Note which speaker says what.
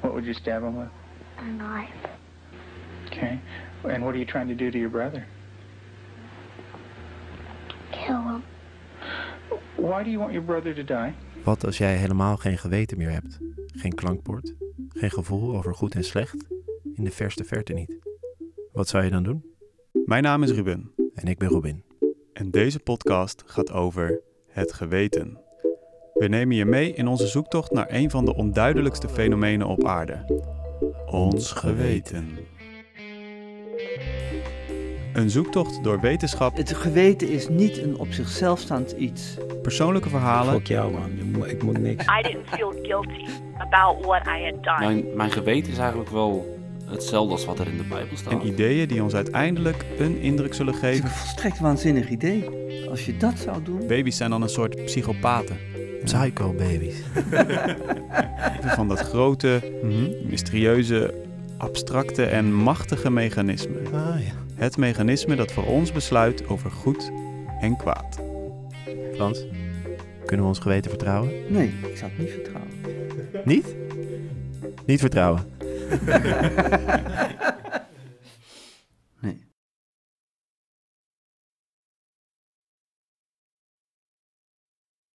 Speaker 1: What would you stab him with?
Speaker 2: A knife.
Speaker 1: Okay. And what are you trying to do to your brother?
Speaker 2: Kill him.
Speaker 1: Why do you want your brother to die?
Speaker 3: Wat als jij helemaal geen geweten meer hebt? Geen klankbord? Geen gevoel over goed en slecht? In de verste verte niet. Wat zou je dan doen?
Speaker 4: Mijn naam is Ruben
Speaker 3: En ik ben Robin.
Speaker 4: en deze podcast gaat over het geweten. We nemen je mee in onze zoektocht naar een van de onduidelijkste fenomenen op aarde. Ons geweten. Een zoektocht door wetenschap,
Speaker 5: Het geweten is niet een op zichzelf staand iets.
Speaker 4: persoonlijke verhalen
Speaker 6: Fuck jou man, Je moet- ik moet niks.
Speaker 7: I didn't feel guilty about what I had done.
Speaker 8: Mijn, mijn geweten is eigenlijk wel hetzelfde als wat er in de Bijbel staat.
Speaker 4: en ideeën die ons uiteindelijk een indruk zullen
Speaker 5: Het is een
Speaker 4: geven.
Speaker 5: volstrekt waanzinnig idee. Als je dat zou doen.
Speaker 4: Baby's zijn dan een soort psychopaten.
Speaker 3: Psycho babies.
Speaker 4: Van dat grote, mysterieuze, abstracte en machtige mechanisme.
Speaker 3: Ah ja.
Speaker 4: Het mechanisme dat voor ons besluit over goed en kwaad.
Speaker 3: Frans, kunnen we ons geweten vertrouwen?
Speaker 5: Nee, ik zou het niet vertrouwen.
Speaker 3: Niet? Niet vertrouwen.